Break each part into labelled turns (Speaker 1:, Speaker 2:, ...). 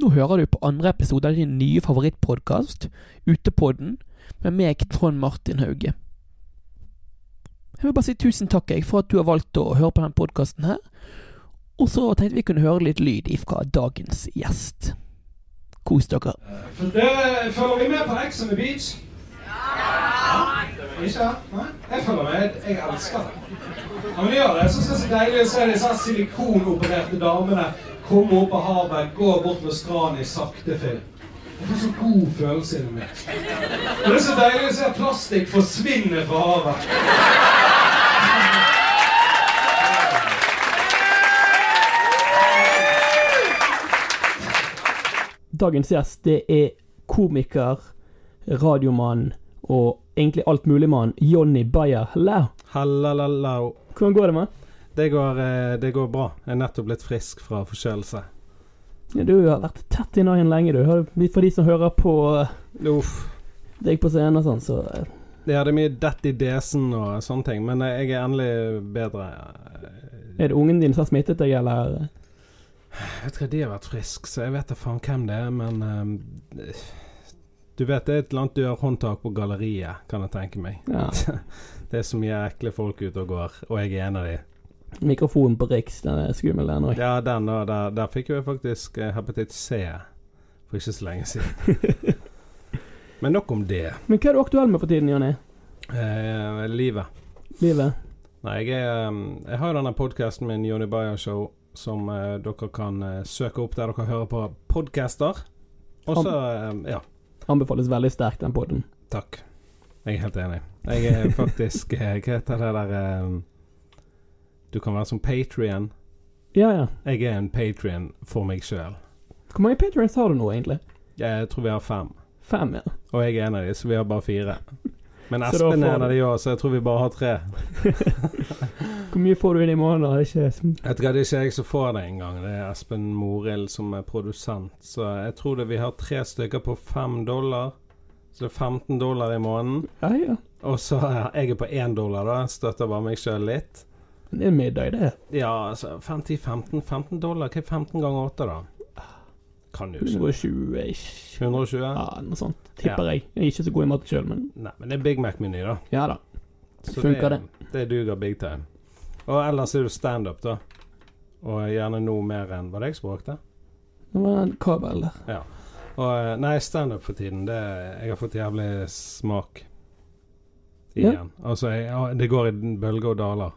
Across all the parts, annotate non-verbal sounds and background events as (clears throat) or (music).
Speaker 1: Nå hører du på andre episode av din nye favorittpodkast, Utepodden, med meg, Trond Martin Hauge. Jeg vil bare si tusen takk jeg, for at du har valgt å høre på denne podkasten her. Og så tenkte vi kunne høre litt lyd ifra dagens gjest. Kos dere.
Speaker 2: For det eh, følger vi med på Ex on the Beach? Ja! Ikke? Nei? Jeg følger med. Jeg elsker det. Ja, men gjør det. Jeg synes det er så deilig å se disse her silikonopererte damene komme opp av havet, gå bort ved stranden i sakte film. Jeg får så god følelse inni meg. Og Det er så deilig å se plastikk forsvinne fra havet.
Speaker 1: Dagens gjest det er komiker, radiomann og egentlig altmuligmann Jonny Bayer. Hello.
Speaker 3: Hallalallau.
Speaker 1: Hvordan går det med?
Speaker 3: Det går, eh, det går bra. Jeg er nettopp blitt frisk fra forkjølelse.
Speaker 1: Ja, du har vært tett i naien lenge, du. Har- For de som hører på eh,
Speaker 3: Uff.
Speaker 1: deg på scenen og sånn, så eh,
Speaker 3: Jeg hadde mye dett i desen og sånne ting, men eh, jeg er endelig bedre. Eh,
Speaker 1: er det ungen din som har smittet deg, eller? eh,
Speaker 3: Jeg vet ikke, de har vært friske, så jeg vet da faen hvem det er, men eh, Du vet, det er et eller annet dørhåndtak på galleriet, kan jeg tenke meg.
Speaker 1: Ja.
Speaker 3: Det er så mye ekle folk ute og går, og jeg er en av de.
Speaker 1: Mikrofonen på Riks, den er skummel, den òg.
Speaker 3: Ja, den og der, der fikk jo jeg faktisk eh, hepatitt C for ikke så lenge siden. Men nok om det.
Speaker 1: Men hva er du aktuell med for tiden, Jonny?
Speaker 3: Eh, livet.
Speaker 1: Livet?
Speaker 3: Nei, jeg, er, um, jeg har jo denne podkasten min, Jonny Bayer Show, som eh, dere kan eh, søke opp der dere hører på podcaster. Og så eh, Ja,
Speaker 1: Anbefales veldig sterkt, den podden.
Speaker 3: takk. Jeg er helt enig. Jeg
Speaker 1: (laughs)
Speaker 3: er faktisk eh, Hva heter det der eh, Du kan være som Patrion.
Speaker 1: Ja, ja.
Speaker 3: Jeg er en Patrion for meg sjøl.
Speaker 1: Hvor mange patrions har du nå, egentlig?
Speaker 3: Jeg tror vi har fem.
Speaker 1: Fem, ja.
Speaker 3: Og jeg er en av de, så vi har bare fire. Men
Speaker 1: (laughs) Så da
Speaker 3: Espen
Speaker 1: får
Speaker 3: er en av
Speaker 1: du-
Speaker 3: de òg, så jeg tror vi bare har tre.
Speaker 1: Hvor mye får du inn i måneden? da? Ikke
Speaker 3: Jeg tror det er ikke jeg som får det engang. Det er Espen Morild som er produsent. Så jeg tror det vi har tre stykker på fem dollar. Så det er 15 dollar i måneden.
Speaker 1: Ja, ja.
Speaker 3: Og så er jeg er på én dollar, da. Støtter bare meg sjøl litt.
Speaker 1: Men Det er middag, det.
Speaker 3: Ja, altså 50, 15, 15 dollar. Hva er 15 ganger 8, da? Kan jo ikke
Speaker 1: 120-ish.
Speaker 3: 120?
Speaker 1: Ja, noe sånt, tipper jeg. Jeg er ikke så god i mat sjøl, men
Speaker 3: Nei, men det er Big Mac-meny, da.
Speaker 1: ja da.
Speaker 3: Så
Speaker 1: Funker
Speaker 3: det? Det duger big time. Og ellers er det standup, da. Og gjerne noe mer enn Var det jeg språkte?
Speaker 1: Det var en kabel der.
Speaker 3: Og, eh, nei, standup for tiden det, Jeg har fått jævlig smak
Speaker 1: Ja.
Speaker 3: igjen. Altså, jeg, ja, det går i den bølger og daler.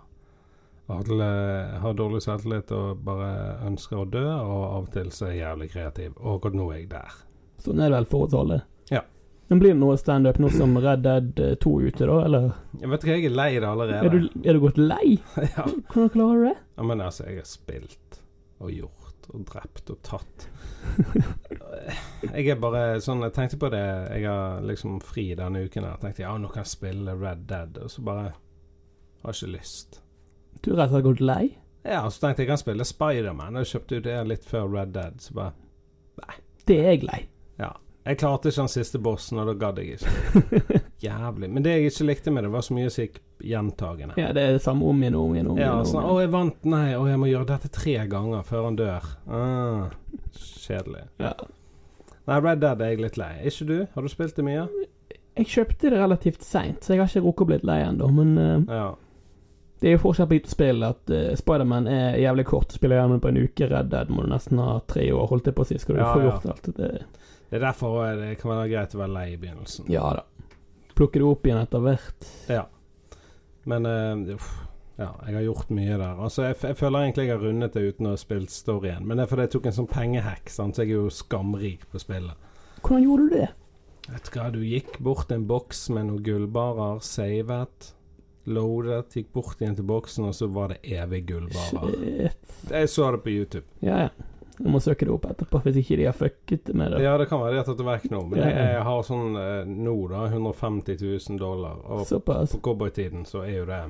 Speaker 3: Jeg har, til, eh, har dårlig selvtillit og bare ønsker å dø, og av og til så er jeg jævlig kreativ. Og akkurat nå er jeg der.
Speaker 1: Sånn er det vel for oss alle.
Speaker 3: Ja.
Speaker 1: Men blir det noe standup nå som Red Dead eh, 2 ute, da? Eller
Speaker 3: Jeg vet ikke, jeg er lei det allerede.
Speaker 1: er du, er du gått lei?
Speaker 3: (laughs) ja.
Speaker 1: Hvordan
Speaker 3: (laughs)
Speaker 1: klarer du det?
Speaker 3: ja, men altså, jeg har spilt og gjort og drept og tatt. Jeg er bare sånn Jeg tenkte på det Jeg har liksom fri denne uken her. Tenkte ja, nå kan jeg spille Red Dead, og så bare har jeg ikke lyst.
Speaker 1: Du har rett og slett gått lei?
Speaker 3: Ja, og så tenkte jeg jeg kan spille Spiderman. Jeg kjøpte jo det litt før Red Dead. Så bare
Speaker 1: Det er jeg lei. (laughs)
Speaker 3: Jeg klarte ikke den siste bossen, og da gadd jeg ikke. Jævlig. Men det jeg ikke likte med det, var så mye som gikk gjentagende.
Speaker 1: Ja, det er det samme om igjen og om igjen. Om,
Speaker 3: Ja,
Speaker 1: igjen,
Speaker 3: sånn
Speaker 1: om,
Speaker 3: 'Å, jeg vant. Nei, å, jeg må gjøre dette tre ganger før han dør'. Ah, kjedelig.
Speaker 1: Ja.
Speaker 3: Nei, Red Dead er jeg litt lei. Er Ikke du? Har du spilt det mye?
Speaker 1: Jeg kjøpte det relativt seint, så jeg har ikke rukket å bli lei ennå. Men eh,
Speaker 3: Ja.
Speaker 1: det er jo forskjell på lite spill. At eh, Spiderman er jævlig kort. Du spiller gjerne på en uke. Red Dead må du nesten ha tre år, holdt jeg på å si. Skal du
Speaker 3: Ja,
Speaker 1: få
Speaker 3: ja.
Speaker 1: gjort alt det
Speaker 3: Det er derfor også det kan være greit å være lei i begynnelsen.
Speaker 1: Ja da. Plukke det opp igjen etter hvert.
Speaker 3: Men eh, uff. Ja, jeg har gjort mye der. Altså, jeg, f jeg føler egentlig jeg har rundet det uten å ha spilt storyen. Men det er fordi jeg tok en sånn pengehack, sant? så jeg er jo skamrik på spillet.
Speaker 1: Hvordan gjorde du det?
Speaker 3: Vet du hva, du gikk bort til en boks med noen gullbarer, savet, loadet, gikk bort igjen til boksen, og så var det evig gullbarer.
Speaker 1: Shit.
Speaker 3: Jeg så det på YouTube.
Speaker 1: Ja, ja. Jeg må søke det opp etterpå, hvis ikke de har fucket med det.
Speaker 3: Ja, det kan være de har tatt det vekk nå, men
Speaker 1: Ja,
Speaker 3: jeg,
Speaker 1: ja.
Speaker 3: jeg har sånn eh, nå, da, 150 000 dollar. Og
Speaker 1: Såpass.
Speaker 3: på cowboytiden så er jo det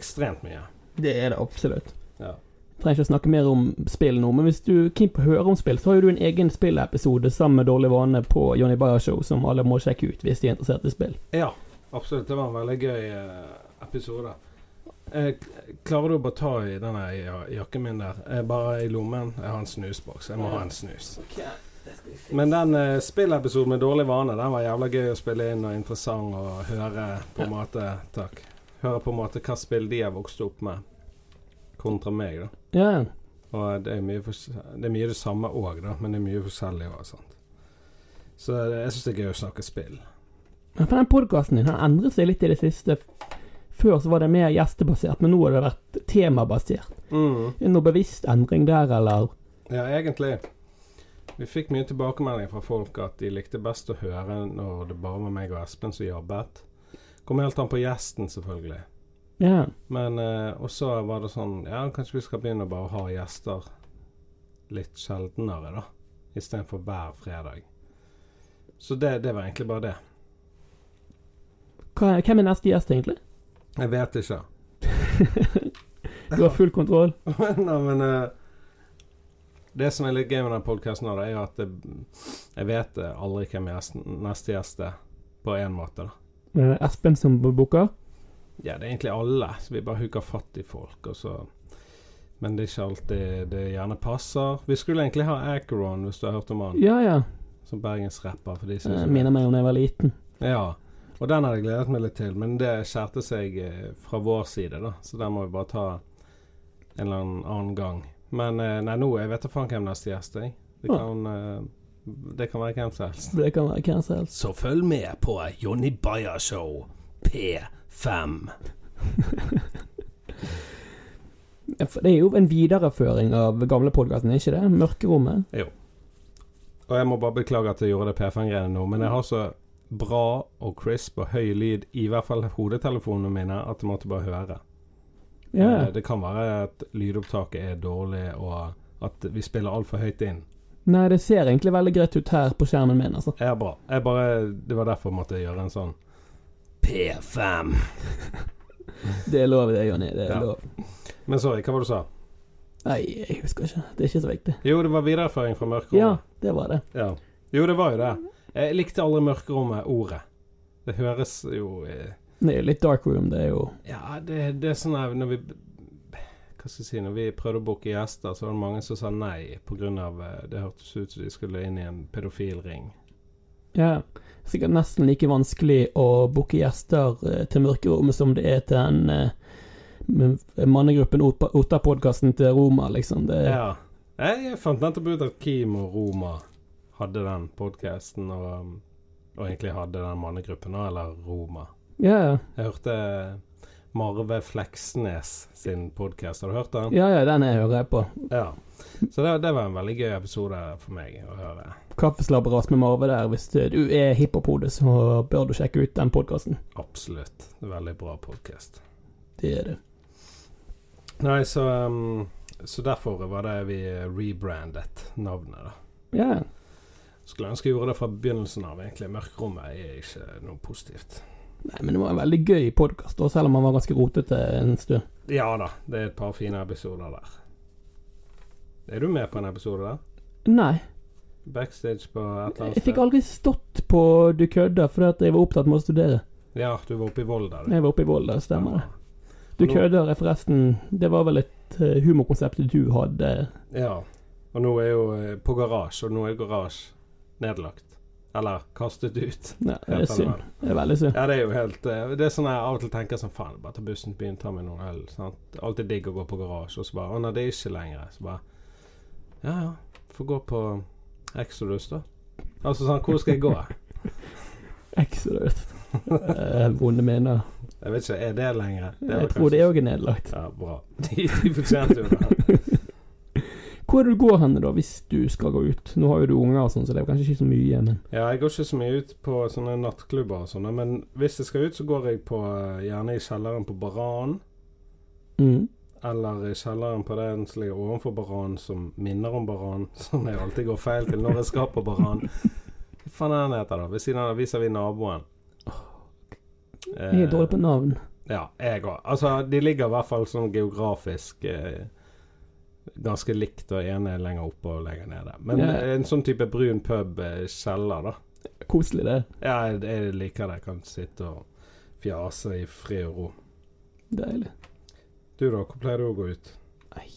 Speaker 3: ekstremt mye.
Speaker 1: Det er det absolutt.
Speaker 3: Ja.
Speaker 1: Trenger ikke å snakke mer om spill nå, men hvis du er keen på å høre om spill, så har jo du en egen spillepisode sammen med Dårlig vane på Johnny Bayer Show, som alle må sjekke ut hvis de er interessert i spill.
Speaker 3: Ja, absolutt. Det var en veldig gøy eh, episode. Eh, k- klarer du å bare ta i denne ja, jakken min der? Eh, bare i lommen. Jeg har en snusboks. Jeg må ha en snus. Men den eh, spillepisoden med dårlig vane, den var jævla gøy å spille inn og interessant å høre på en måte Takk. Høre på en måte hva spill de har vokst opp med, kontra meg, da.
Speaker 1: Ja, ja.
Speaker 3: Og eh, det er mye, fors- det, er mye det samme òg, da, men det er mye forskjellig òg, sant. Så det- jeg syns det er gøy å snakke spill.
Speaker 1: Ja, For den podkasten din har endret seg litt i det siste. Før så var det mer gjestebasert, men nå har det vært temabasert.
Speaker 3: Mm.
Speaker 1: Er det noe bevisst endring der, eller?
Speaker 3: Ja, egentlig. Vi fikk mye tilbakemeldinger fra folk at de likte best å høre når det bare var meg og Espen som jobbet. Kom helt an på gjesten, selvfølgelig.
Speaker 1: Ja.
Speaker 3: Men eh, også var det sånn Ja, kanskje vi skal begynne å bare ha gjester litt sjeldnere, da. Istedenfor hver fredag. Så det, det var egentlig bare det.
Speaker 1: Hva, hvem er neste gjest, egentlig? (laughs)
Speaker 3: Jeg vet ikke. (laughs)
Speaker 1: Du har full kontroll.
Speaker 3: Nei, men eh, Det som er litt gøy med den podkasten, er jo at det, jeg vet eh, aldri hvem gjesten, neste gjest er, på én måte. da.
Speaker 1: Er det Eh, Espen som booker?
Speaker 3: Ja, det er egentlig alle, så vi bare hooker fatt i folk, og så Men det er ikke alltid det gjerne passer. Vi skulle egentlig ha Acheron, hvis du har hørt om han,
Speaker 1: Ja, ja.
Speaker 3: som bergensrapper. For de synes
Speaker 1: Eh,
Speaker 3: jo-
Speaker 1: Minner meg om da jeg var liten.
Speaker 3: Ja. Og den hadde jeg gledet meg litt til, men det skjærte seg eh, fra vår side, da. Så den må vi bare ta en eller annen annen gang. Men eh, nei, nå jeg vet da faen hvem neste gjest er. jeg. Det
Speaker 1: Ja.
Speaker 3: kan, eh, det kan være hvem som helst.
Speaker 1: Det kan være hvem som helst.
Speaker 3: Så følg med på Jonny Bayer Show P5.
Speaker 1: Ja, for Det er jo en videreføring av gamle podkasten, ikke det? Mørkerommet.
Speaker 3: Og jeg må bare beklage at jeg gjorde det P5-greiene nå, men jeg har så bra og crisp og høy lyd, i hvert fall hodetelefonene mine, at jeg måtte bare høre.
Speaker 1: Ja.
Speaker 3: Eh, Det kan være at lydopptaket er dårlig, og at vi spiller altfor høyt inn.
Speaker 1: Nei, det ser egentlig veldig greit ut her på skjermen min, altså.
Speaker 3: Ja, bra. Jeg bare, det var derfor jeg måtte gjøre en sånn P5.
Speaker 1: Det er lov, det, Jonny. Det er
Speaker 3: Ja.
Speaker 1: lov.
Speaker 3: Men sorry, hva var det du sa?
Speaker 1: Nei, jeg husker ikke. Det er ikke så viktig.
Speaker 3: Jo, det var videreføring fra
Speaker 1: Ja,
Speaker 3: mørkerommet.
Speaker 1: det var det.
Speaker 3: Ja. Jo, det var jo det. Jeg likte aldri mørkerommet-ordet. Det høres jo eh,
Speaker 1: Det er jo litt dark room, det er jo
Speaker 3: Ja, det, det er sånn her når vi Hva skal jeg si Når vi prøvde å booke gjester, så var det mange som sa nei pga. eh, det hørtes ut som de skulle inn i en pedofil ring.
Speaker 1: Ja. Sikkert nesten like vanskelig å booke gjester eh, til mørkerommet som det er til den eh, men- mannegruppen Ota- Otta-podkasten til Roma, liksom. Det,
Speaker 3: Ja. Jeg fant nettopp ut at Kim og Roma hadde den podkasten, og, um, og egentlig hadde den mannegruppen òg, eller Roma.
Speaker 1: ja, ja.
Speaker 3: Jeg hørte Marve Fleksnes sin podkast. Har du hørt den?
Speaker 1: ja, ja, den jeg hører jeg på.
Speaker 3: Ja. Så det, det var en veldig gøy episode for meg å høre.
Speaker 1: Kaffeslabberas med Marve der. Hvis du er hiphop-hode, så bør du sjekke ut den podkasten.
Speaker 3: Absolutt. Veldig bra podkast.
Speaker 1: Det er det.
Speaker 3: Nei, så, um, så derfor var det vi rebrandet navnet, da.
Speaker 1: Ja.
Speaker 3: Skulle ønske jeg gjorde det fra begynnelsen av, egentlig. Mørkerommet er ikke noe positivt.
Speaker 1: Nei, men det var en veldig gøy podkast, selv om han var ganske rotete en stund.
Speaker 3: Ja da, det er et par fine episoder der. Er du med på en episode der?
Speaker 1: Nei.
Speaker 3: Backstage på et eller
Speaker 1: Jeg
Speaker 3: annet
Speaker 1: fikk aldri stått på Du kødder fordi at jeg var opptatt med å studere.
Speaker 3: Ja, du var oppe i Volda, du.
Speaker 1: Jeg var oppe i Volda, stemmer det. Du
Speaker 3: Og nå-
Speaker 1: kødder er forresten Det var vel et eh, humorkonsept du hadde
Speaker 3: Ja. Og nå er jo eh, på garasje, og nå er garasje nedlagt. Eller kastet ut.
Speaker 1: Nei, det
Speaker 3: Ja,
Speaker 1: er synd. Det er veldig synd.
Speaker 3: Ja, det er jo helt eh, Det er sånn jeg av og til tenker sånn Faen, bare ta bussen til byen, ta meg noen øl. sant? Det er Alltid digg å gå på garasje, og så bare Å nei, det er ikke lenger. Så bare Ja ja, får gå på Exodus, da. Altså sånn Hvor skal jeg gå?
Speaker 1: Exodus. Eh, Vonde minner.
Speaker 3: Jeg vet ikke, er det lenger? (laughs) Det er
Speaker 1: Jeg
Speaker 3: vel
Speaker 1: tror det
Speaker 3: kanskje-
Speaker 1: òg er nedlagt.
Speaker 3: Ja, bra. (laughs) De, de fortjente jo det.
Speaker 1: Hvor er det du går hen, da, hvis du skal gå ut? Nå har jo du unger og sånn, så det er kanskje ikke så mye, men
Speaker 3: Ja, jeg går ikke så mye ut på sånne nattklubber og sånne, men hvis jeg skal ut, så går jeg på eh, gjerne i kjelleren på Baran,
Speaker 1: mm.
Speaker 3: eller i kjelleren på den som ligger ovenfor Baran, som minner om Baran, (laughs) som jeg alltid går feil til når jeg skal på Baran. Hva faen er den heter, da? Ved siden av viser vi naboen.
Speaker 1: Jeg er dårlig på navn.
Speaker 3: Eh, Ja, jeg òg. Altså, de ligger i hvert fall sånn geografisk eh, ganske likt, og ene er lenger oppe og lenger nede. Men
Speaker 1: Ja.
Speaker 3: en sånn type brun pub-kjeller, da.
Speaker 1: Koselig, det.
Speaker 3: Ja, jeg, jeg liker det. Jeg kan sitte og fjase i fred og ro.
Speaker 1: Deilig.
Speaker 3: Du da, hvor pleier du å gå ut?
Speaker 1: Nei,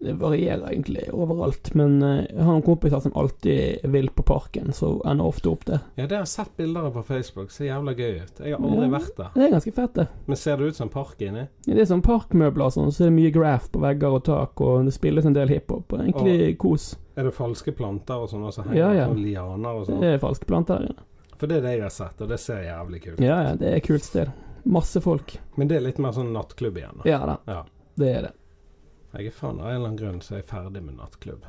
Speaker 1: det varierer egentlig overalt. Men eh, jeg har en kompis her som alltid vil på parken, så ender ofte opp der.
Speaker 3: Ja, det har jeg sett bilder av på Facebook. Ser jævla gøy ut. Jeg har aldri
Speaker 1: Ja.
Speaker 3: vært der.
Speaker 1: Det er ganske fett, det.
Speaker 3: Men ser det ut som en park inni?
Speaker 1: Ja, Det er sånn parkmøbler og sånn, så er det mye graph på vegger og tak, og det spilles en del hiphop. og Egentlig kos.
Speaker 3: Er det falske planter og sånn, og så henger
Speaker 1: Ja,
Speaker 3: det
Speaker 1: ja.
Speaker 3: sånn lianer og sånn?
Speaker 1: Det er falske planter der inne.
Speaker 3: For det er det jeg har sett, og det ser jævlig kult ut.
Speaker 1: Ja, ja, det er et kult sted. Masse folk.
Speaker 3: Men det er litt mer sånn nattklubb igjen. Da.
Speaker 1: Ja da,
Speaker 3: Ja.
Speaker 1: det er det.
Speaker 3: Jeg er faen av en eller annen grunn så er jeg ferdig med nattklubb.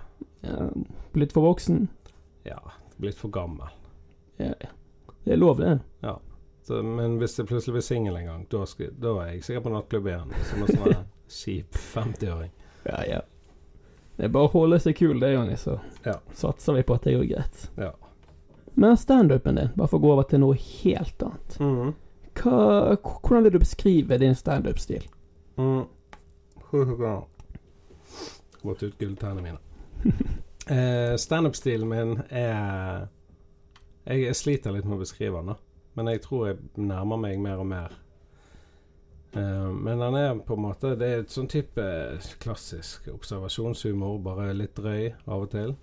Speaker 1: Ja, Blitt for voksen.
Speaker 3: Ja, blitt for gammel.
Speaker 1: Ja, ja. Det er lov, det.
Speaker 3: Så, men hvis jeg plutselig blir singel en gang, da, skal, da er jeg sikkert på nattklubb igjen. Som en
Speaker 1: (laughs)
Speaker 3: sånn kjip 50-åring.
Speaker 1: Ja, ja. Det er bare å holde seg kul, det, Jonny, så
Speaker 3: Ja.
Speaker 1: satser vi på at det går greit.
Speaker 3: Ja.
Speaker 1: Men standupen din, bare for å gå over til noe helt annet.
Speaker 3: Mhm.
Speaker 1: Hva, k- hvordan vil du beskrive din standup-stil? (laughs)
Speaker 3: Mm. Vått ut gulltennene mine. Eh, Standup-stilen min er jeg, jeg sliter litt med å beskrive den, da. Men jeg tror jeg nærmer meg mer og mer. Eh, men den er på en måte Det er et sånn type klassisk observasjonshumor, bare litt drøy av og til.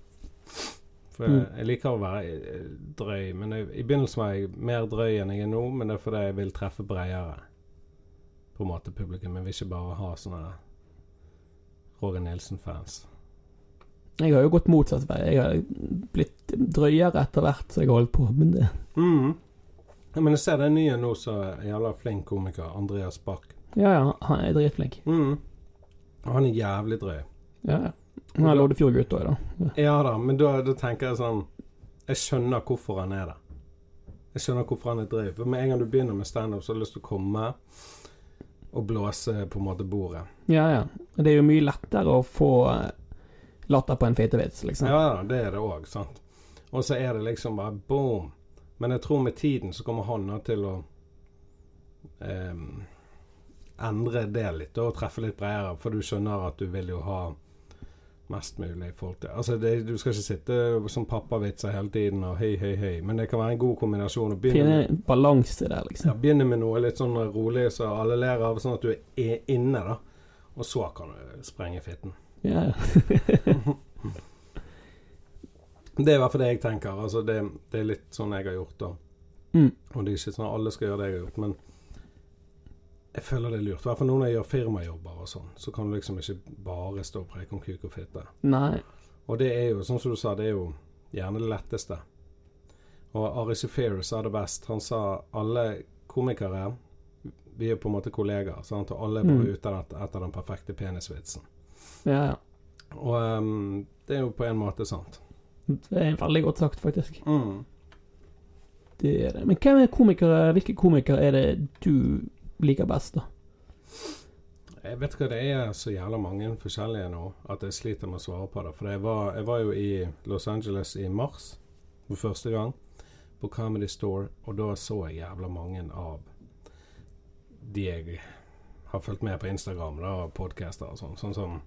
Speaker 3: For jeg,
Speaker 1: Mm.
Speaker 3: jeg liker å være eh, drøy, men jeg, i begynnelsen var jeg mer drøy enn jeg er nå, men det er fordi jeg vil treffe bredere på en måte publikum. Jeg vil ikke bare ha sånne Roger Nilsen-fans.
Speaker 1: Jeg har jo gått motsatt vei. Jeg har blitt drøyere etter hvert som jeg har holdt på, men det
Speaker 3: Mm. Ja, Men jeg ser den nye nå, så jævla flink komiker. Andreas Bach.
Speaker 1: Ja, ja, han er dritflink.
Speaker 3: Mm. Og Han er jævlig drøy.
Speaker 1: Ja, ja. Han er Loddefjord-gutt òg, da.
Speaker 3: Ja da, men da, da tenker jeg sånn Jeg skjønner hvorfor han er det. Jeg skjønner hvorfor han er drøy. For med en gang du begynner med standup, så har du lyst til å komme og blåse på en måte bordet.
Speaker 1: Ja, ja. Det er jo mye lettere å få eh, latter på en feitevits, liksom.
Speaker 3: Ja, ja, det er det òg, sant. Og så er det liksom bare boom. Men jeg tror med tiden så kommer han nå til å ehm, endre det litt da, og treffe litt bredere, for du skjønner at du vil jo ha mest mulig folk til Altså, det, du skal ikke sitte som pappavitser hele tiden og høy, høy, høy, men det kan være en god kombinasjon. å begynne
Speaker 1: Finne
Speaker 3: med,
Speaker 1: en balanse der,
Speaker 3: ja,
Speaker 1: liksom.
Speaker 3: begynne med noe litt sånn rolig så alle ler av, sånn at du er inne, da. Og så kan du sprenge fitten.
Speaker 1: Ja, ja.
Speaker 3: Det er i hvert fall det jeg tenker. Altså det, det er litt sånn jeg har gjort da.
Speaker 1: Mm.
Speaker 3: Og det er ikke sånn at alle skal gjøre det jeg har gjort, men jeg føler det er lurt. I hvert fall nå når jeg gjør firmajobber og sånn, så kan du liksom ikke bare stå og preke om kuk og fitte.
Speaker 1: Nei.
Speaker 3: Og det er jo, sånn som du sa, det er jo gjerne det letteste. Og Ari Shafir sa det best. Han sa alle komikere Vi er på en måte kollegaer, sant? og alle er bare
Speaker 1: Mm.
Speaker 3: ute etter- etter den perfekte penisvitsen.
Speaker 1: Ja, ja.
Speaker 3: Og ehm, det er jo på en måte sant.
Speaker 1: Det er veldig godt sagt, faktisk.
Speaker 3: Mm.
Speaker 1: Det er det. Men hvem er komikere, hvilke komikere er det du liker best, da?
Speaker 3: Jeg vet hva det er så jævla mange forskjellige nå at jeg sliter med å svare på det. For jeg var, jeg var jo i Los Angeles i mars for første gang på Comedy Store, og da så jeg jævla mange av de jeg har fulgt med på Instagram da, og podcaster og sånn. Sånn som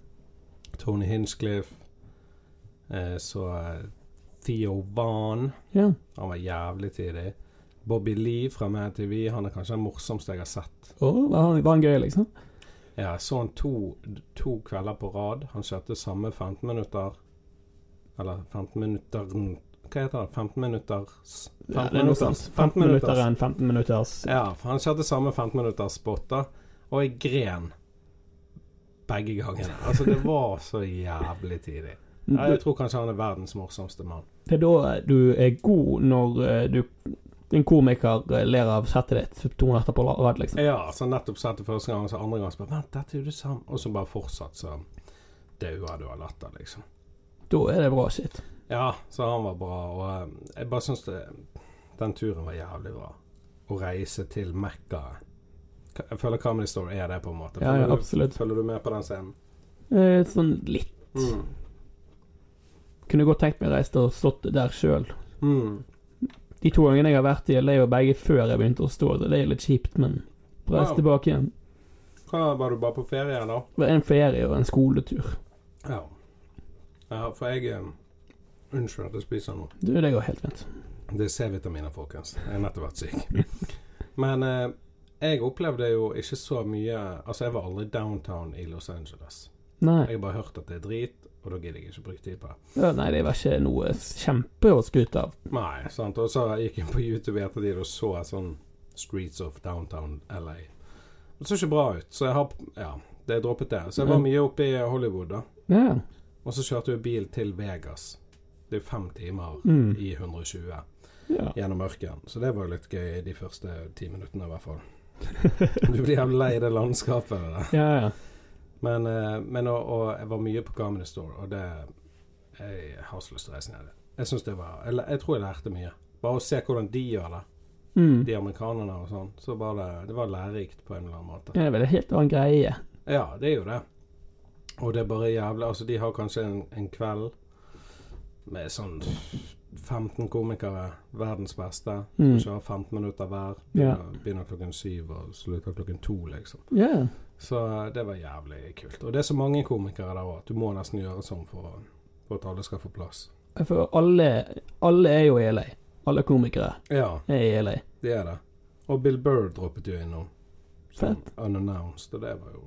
Speaker 3: Tony Hinchcliffe, eh, så eh, Theo Van
Speaker 1: Ja.
Speaker 3: Han var jævlig tidlig. Bobby Lee fra Mad TV, han er kanskje den morsomste jeg har sett.
Speaker 1: Åh, var, han, var han gøy, liksom?
Speaker 3: Ja, jeg så han to, to kvelder på rad. Han kjørte samme 15 minutter Eller 15 minutter Hva heter det? 15 minutters
Speaker 1: Ja, det er noe sånt. 15 minutter enn 15 minutters
Speaker 3: Ja, for han kjørte samme 15 minutters spotter, og jeg gren begge
Speaker 1: (laughs)
Speaker 3: gangene. Altså, det var så jævlig tidlig.
Speaker 1: Mm.
Speaker 3: Ja, Jeg tror kanskje han er verdens morsomste mann.
Speaker 1: Det er da du er god når eh, du en komiker eh, ler av settet ditt to netter på rad, liksom.
Speaker 3: Ja, så nettopp sett det første gang, og så andre gang så bare Vent, dette er jo det samme. Og så bare fortsatt, så daua du av latter, liksom.
Speaker 1: Da er det bra shit.
Speaker 3: Ja, så han var bra. Og eh, jeg bare syns det, den turen var jævlig bra. Å reise til Mekka. Ka- Jeg føler Comedy Store er det, på en måte.
Speaker 1: Ja, ja,
Speaker 3: Følger du-
Speaker 1: absolutt.
Speaker 3: Følger du med på den scenen?
Speaker 1: Eh, Sånn litt.
Speaker 3: Mm.
Speaker 1: Kunne godt tenkt meg å reise og stått der sjøl.
Speaker 3: Mm.
Speaker 1: De to gangene jeg har vært i, det er jo begge før jeg begynte å stå, så det er litt kjipt, men reise
Speaker 3: Wow.
Speaker 1: tilbake igjen.
Speaker 3: Hva, var du bare på ferie, da?
Speaker 1: Det var en ferie og en skoletur.
Speaker 3: Ja. ja for jeg eh, Unnskyld at jeg spiser nå.
Speaker 1: Du, det går helt fint. (laughs)
Speaker 3: Det er C-vitaminer, folkens. Jeg har nettopp vært syk. Men eh, Jeg opplevde jo ikke så mye Altså, jeg var aldri downtown i Los Angeles.
Speaker 1: Nei.
Speaker 3: Jeg har bare hørt at det er drit, og da gidder jeg ikke bruke tid på det.
Speaker 1: Ja, nei, det var ikke noe kjempe å skryte av.
Speaker 3: Nei, sant. Og så gikk jeg inn på YouTube i ettertid og så sånn Streets of Downtown LA. Det så ikke bra ut, så jeg har Ja, det er droppet det. Så jeg var
Speaker 1: Ja.
Speaker 3: mye oppe i Hollywood, da.
Speaker 1: Ja.
Speaker 3: Og så kjørte jeg bil til Vegas. Det er fem timer
Speaker 1: Mm.
Speaker 3: i 120
Speaker 1: ja. (laughs)
Speaker 3: gjennom ørkenen. Så det var jo litt gøy de første ti minuttene, i hvert fall. Du blir jævlig lei det landskapet. Det.
Speaker 1: Ja, ja.
Speaker 3: Men, eh, men og, og jeg var mye på Comedy Store, og det Jeg har så lyst til å reise ned dit. Jeg synes det var Eller jeg tror jeg lærte mye. Bare å se hvordan de gjør det,
Speaker 1: Mm.
Speaker 3: de amerikanerne og sånn, så var det, det var lærerikt på en eller annen måte.
Speaker 1: Ja, Det er vel en helt annen greie.
Speaker 3: Ja, det er jo det. Og det er bare jævlig Altså, de har kanskje en, en kveld med sånn 15 komikere, verdens beste, som
Speaker 1: Mm.
Speaker 3: kjører 15 minutter hver.
Speaker 1: Ja.
Speaker 3: Begynner, begynner klokken syv og slutter klokken to, liksom.
Speaker 1: Ja.
Speaker 3: Så eh, det var jævlig kult. Og det er så mange komikere der òg at du må nesten gjøre sånn for, å- for at alle skal få plass.
Speaker 1: For alle, alle er jo i LA. Alle komikere
Speaker 3: Ja,
Speaker 1: er i LA.
Speaker 3: det er det. Og Bill Burr droppet jo innom. Som
Speaker 1: Fett.
Speaker 3: unannounced, og det var jo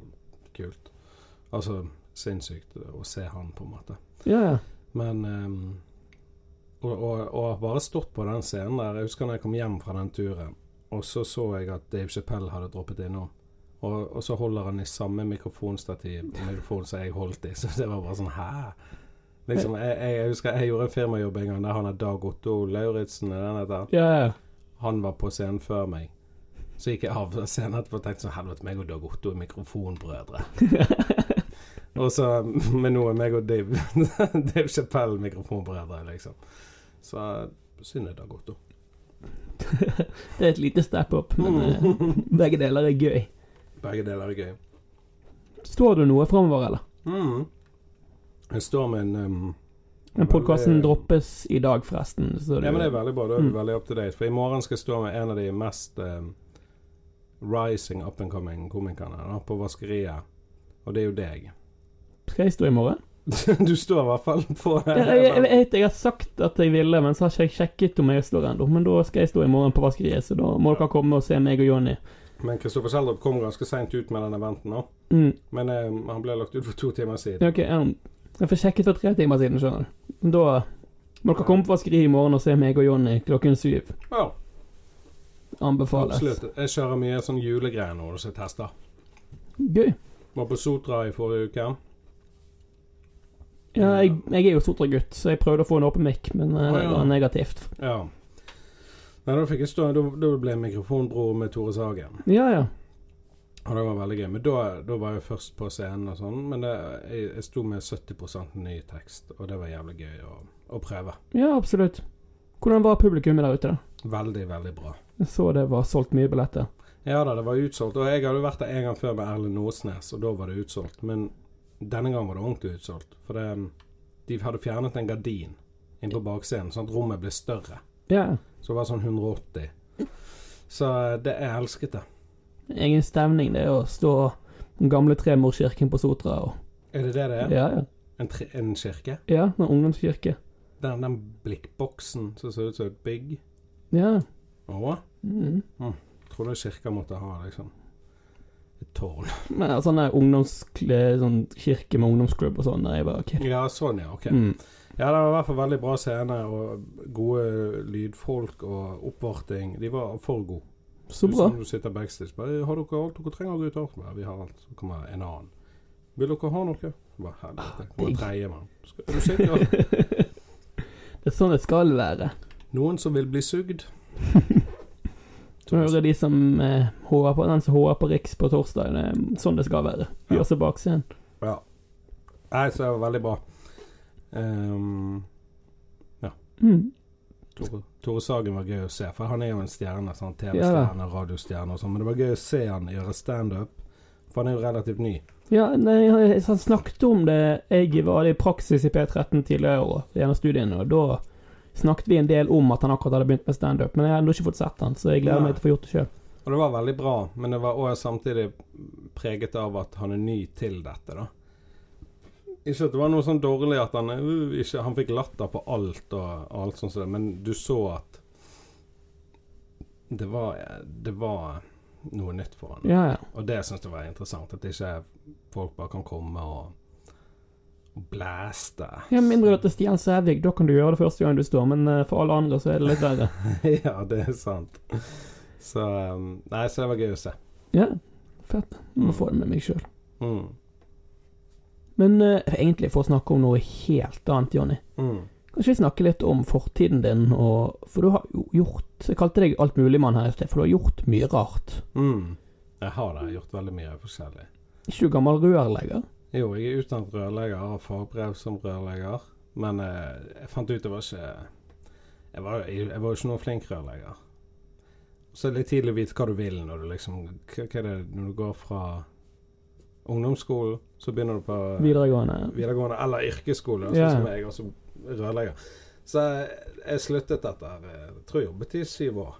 Speaker 3: kult. Altså sinnssykt å se han, på en måte.
Speaker 1: Ja, ja.
Speaker 3: Men ehm, og, og, og har bare stått på den scenen der. Jeg husker når jeg kom hjem fra den turen, og så så jeg at Dave Chappelle hadde droppet innom. Og, og så holder han i samme mikrofonstativ mikrofon som jeg holdt i. (laughs) Så det var bare sånn Hæ? Liksom, jeg, jeg, jeg husker jeg gjorde en firmajobb en gang der han er Dag Otto Lauritzen. er det han heter?
Speaker 1: ja, ja.
Speaker 3: Han var på scenen før meg. Så gikk jeg av (laughs) scenen etterpå og tenkte sånn Helvete, meg og Dag Otto er mikrofonbrødre. og så Men nå er meg og Dave, (laughs) Dave Chappelle mikrofonbrødre, liksom. Så synd det er Dag Otto.
Speaker 1: Det er et lite step up,
Speaker 3: (laughs)
Speaker 1: men eh, begge deler er gøy.
Speaker 3: Begge deler er gøy.
Speaker 1: Står du noe framover, eller?
Speaker 3: Mm. Jeg står med en um,
Speaker 1: Den podkasten
Speaker 3: veldig-
Speaker 1: droppes i dag, forresten. Så
Speaker 3: Ja, men det er
Speaker 1: du,
Speaker 3: veldig bra. Da er vi
Speaker 1: Mm.
Speaker 3: veldig up to date. For i morgen skal jeg stå med en av de mest um, rising up and coming komikerne da, på vaskeriet. Og det er jo deg.
Speaker 1: skal jeg stå i morgen?
Speaker 3: (laughs) du står i hvert fall på
Speaker 1: Jeg, jeg, jeg vet jeg har sagt at jeg ville, men så har ikke jeg sjekket om jeg står ennå. Men da skal jeg stå i morgen på vaskeriet, så da må dere komme og se meg og Jonny.
Speaker 3: Men Kristoffer Kjeldrup kom ganske seint ut med den eventen nå.
Speaker 1: Mm.
Speaker 3: Men eh, han ble lagt ut for to timer siden.
Speaker 1: Ja, ok, ja. Jeg får sjekket for tre timer siden, skjønner du. Men Da må dere komme på vaskeriet i morgen og se meg og Jonny klokken syv.
Speaker 3: Ja,
Speaker 1: Anbefales.
Speaker 3: absolutt. Jeg kjører mye sånn julegreier nå, så jeg tester.
Speaker 1: Gøy.
Speaker 3: Var på Sotra i forrige uke.
Speaker 1: Ja, jeg, jeg er jo Sotra-gutt, så jeg prøvde å få en åpen mic, men eh,
Speaker 3: Å,
Speaker 1: det
Speaker 3: ja.
Speaker 1: var negativt.
Speaker 3: Ja. Nei, da fikk jeg stå Da, da ble jeg mikrofonbror med Tore Sagen.
Speaker 1: Ja, ja.
Speaker 3: Og det var veldig gøy. Men da, da var jeg først på scenen og sånn. Men det, jeg, jeg sto med 70 ny tekst, og det var jævlig gøy å, å prøve.
Speaker 1: Ja, absolutt. Hvordan var publikummet der ute, da?
Speaker 3: Veldig, veldig bra.
Speaker 1: Jeg så det var solgt mye billetter.
Speaker 3: Ja da, det var utsolgt. Og jeg hadde jo vært der en gang før med Erlend Åsnes, og da var det utsolgt. Men denne gangen var det ordentlig utsolgt. For det, um, de hadde fjernet en gardin inn på bakscenen, sånn at rommet ble større.
Speaker 1: Ja.
Speaker 3: Så det var sånn 180. Så eh, det jeg elsket det.
Speaker 1: Egen stemning, det å stå den gamle tremorkirken på Sotra og
Speaker 3: Er det det det
Speaker 1: Ja,
Speaker 3: er?
Speaker 1: ja.
Speaker 3: En, tre, en kirke?
Speaker 1: Ja, en ungdomskirke.
Speaker 3: Den, den blikkboksen som ser ut som et bygg?
Speaker 1: Ja.
Speaker 3: Å,
Speaker 1: Mm.
Speaker 3: trodde kirka måtte ha liksom et tårn. (laughs)
Speaker 1: Men altså, sånn der ungdomskle- sånn kirke med ungdomsklubb og sånn, da jeg var ok.
Speaker 3: Ja, sånn ja. Ok.
Speaker 1: Mm.
Speaker 3: Ja, det var i hvert fall veldig bra scene og gode lydfolk og oppvarting. De var for gode.
Speaker 1: Så bra.
Speaker 3: Du, som du sitter backstage bare, har dere alt dere trenger, gutter? Bare, vi har alt. Så kommer en annen. Vil dere ha noe? Bare helvete. Kommer en
Speaker 1: digg.
Speaker 3: tredjemann. Skal- er du
Speaker 1: (laughs)
Speaker 3: sikker?
Speaker 1: Det er sånn det skal være.
Speaker 3: Noen som vil bli
Speaker 1: (laughs)
Speaker 3: sugd?
Speaker 1: Så hører de som eh, håver på den som håver på Riks på torsdag. Det er sånn det skal være. Gjør seg bak scenen.
Speaker 3: Ja. Nei, så det var veldig bra. Ehm,
Speaker 1: Mm.
Speaker 3: Tore, Tore Sagen var gøy å se, for han er jo en stjerne. Sånn,
Speaker 1: Ja
Speaker 3: TV-stjerne, radiostjerne og sånn. Men det var gøy å se han gjøre standup, for han er jo relativt ny.
Speaker 1: Ja, nei, han, han snakket om det Jeg var i praksis i P13 tidligere i år, gjennom studiene, og da snakket vi en del om at han akkurat hadde begynt med standup, men jeg har ennå ikke fått sett han, så jeg gleder
Speaker 3: Nei.
Speaker 1: meg til å få gjort det sjøl.
Speaker 3: Og det var veldig bra, men det var også samtidig preget av at han er ny til dette, da. Ikke at det var noe sånn dårlig at han øh, ikke, Han fikk latter på alt og alt sånt, som det, men du så at det var Det var noe nytt for han.
Speaker 1: Ja, ja.
Speaker 3: Og det syns jeg var interessant, at ikke folk bare kan komme og, og blaste.
Speaker 1: Ja, mindre du heter Stian Sævik, da kan du gjøre det første gang du står, men eh, for alle andre så er det litt verre.
Speaker 3: (laughs) ja, det er sant. Så um, Nei, så det var gøy å se.
Speaker 1: Ja, fett. Må få det med meg sjøl.
Speaker 3: Mm.
Speaker 1: Men eh, egentlig for å snakke om noe helt annet, Jonny.
Speaker 3: Mm.
Speaker 1: Kanskje vi snakker litt om fortiden din, og, for du har jo gjort Jeg kalte deg altmuligmann her i sted, for du har gjort mye rart.
Speaker 3: Mm. Jeg har da gjort veldig mye forskjellig.
Speaker 1: Er Ikke du gammel rørlegger?
Speaker 3: Jo, jeg er utdannet rørlegger, har fagbrev som rørlegger, men eh, jeg fant ut det var ikke Jeg var, jeg, jeg var jo ikke noen flink rørlegger. Så det er litt tidlig å vite hva du vil når du liksom Hva, hva er det når du går fra ungdomsskolen, så begynner du på eh,
Speaker 1: Videregående?
Speaker 3: videregående eller yrkesskole, sånn
Speaker 1: Ja.
Speaker 3: som jeg, og så rørlegger. Så jeg, jeg sluttet etter eh, Jeg tror jeg jobbet i syv år.